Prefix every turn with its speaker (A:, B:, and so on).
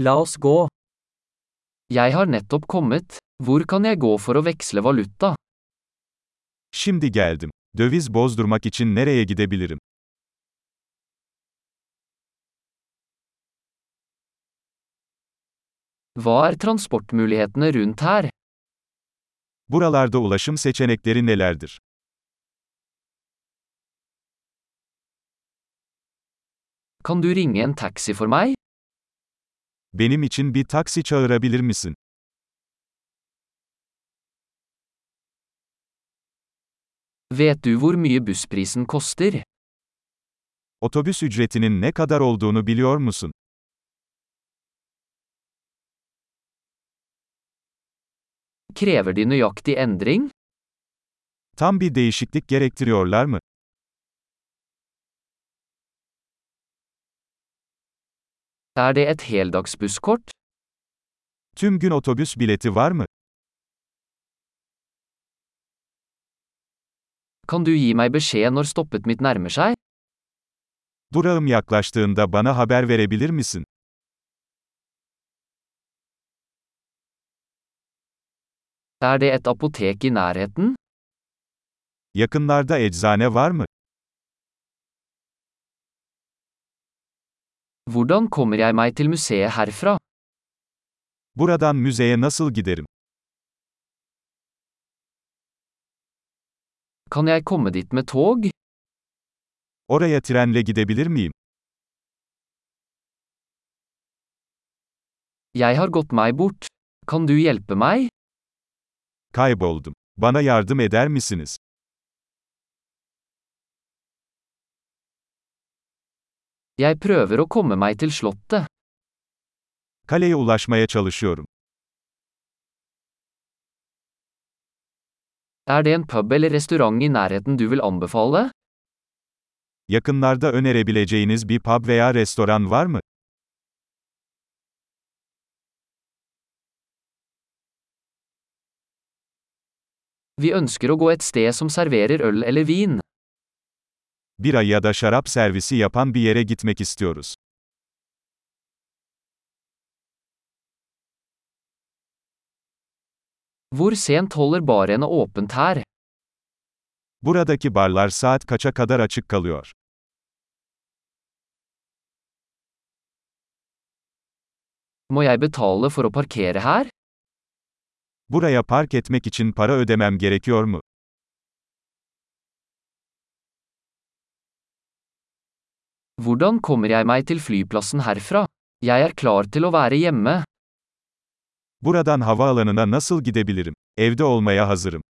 A: La oss gå. Jeg har nettopp kommet. Hvor kan jeg gå for å veksle valuta?
B: Şimdi geldim. Döviz bozdurmak için nereye gidebilirim?
A: Hva er transportmulighetene rundt her?
B: Buralarda ulaşım seçenekleri nelerdir?
A: Kan du ringe en taxi for meg?
B: Benim için bir taksi çağırabilir misin?
A: Vet du hvor mye bussprisen koster?
B: Otobüs ücretinin ne kadar olduğunu biliyor musun?
A: Krever de nøyaktig endring?
B: Tam bir değişiklik gerektiriyorlar mı?
A: Er det et heldagsbusskort?
B: Tüm gün otobüs bileti var mı?
A: Kan du gi meg beskjed når stoppet mitt nærmer seg?
B: Durağım yaklaştığında bana haber verebilir misin?
A: Er det et apotek i nærheten?
B: Yakınlarda eczane var mı?
A: Hvordan kommer jeg meg til museet herfra?
B: Buradan müzeye nasıl giderim?
A: Kan jeg komme dit med tog?
B: Oraya trenle gidebilir miyim?
A: Jeg har gått meg bort. Kan du hjelpe meg?
B: Kayboldum. Bana yardım eder misiniz?
A: Jeg prøver å komme meg til slottet.
B: Kaleye ulaşmaya çalışıyorum.
A: Er det en pub eller restaurant i nærheten du vil anbefale?
B: Yakınlarda önerebileceğiniz bir pub veya restoran var mı?
A: Vi ønsker å gå et sted som serverer øl eller vin.
B: Bira ya da şarap servisi yapan bir yere gitmek istiyoruz.
A: Hvor sent holder barene åpent her?
B: Buradaki barlar saat kaça kadar açık kalıyor?
A: Må jeg betale for å parkere her?
B: Buraya park etmek için para ödemem gerekiyor mu?
A: Hvordan kommer jeg meg til flyplassen herfra? Jeg er klar til å være hjemme.
B: Buradan havaalanına nasıl gidebilirim? Evde olmaya hazırım.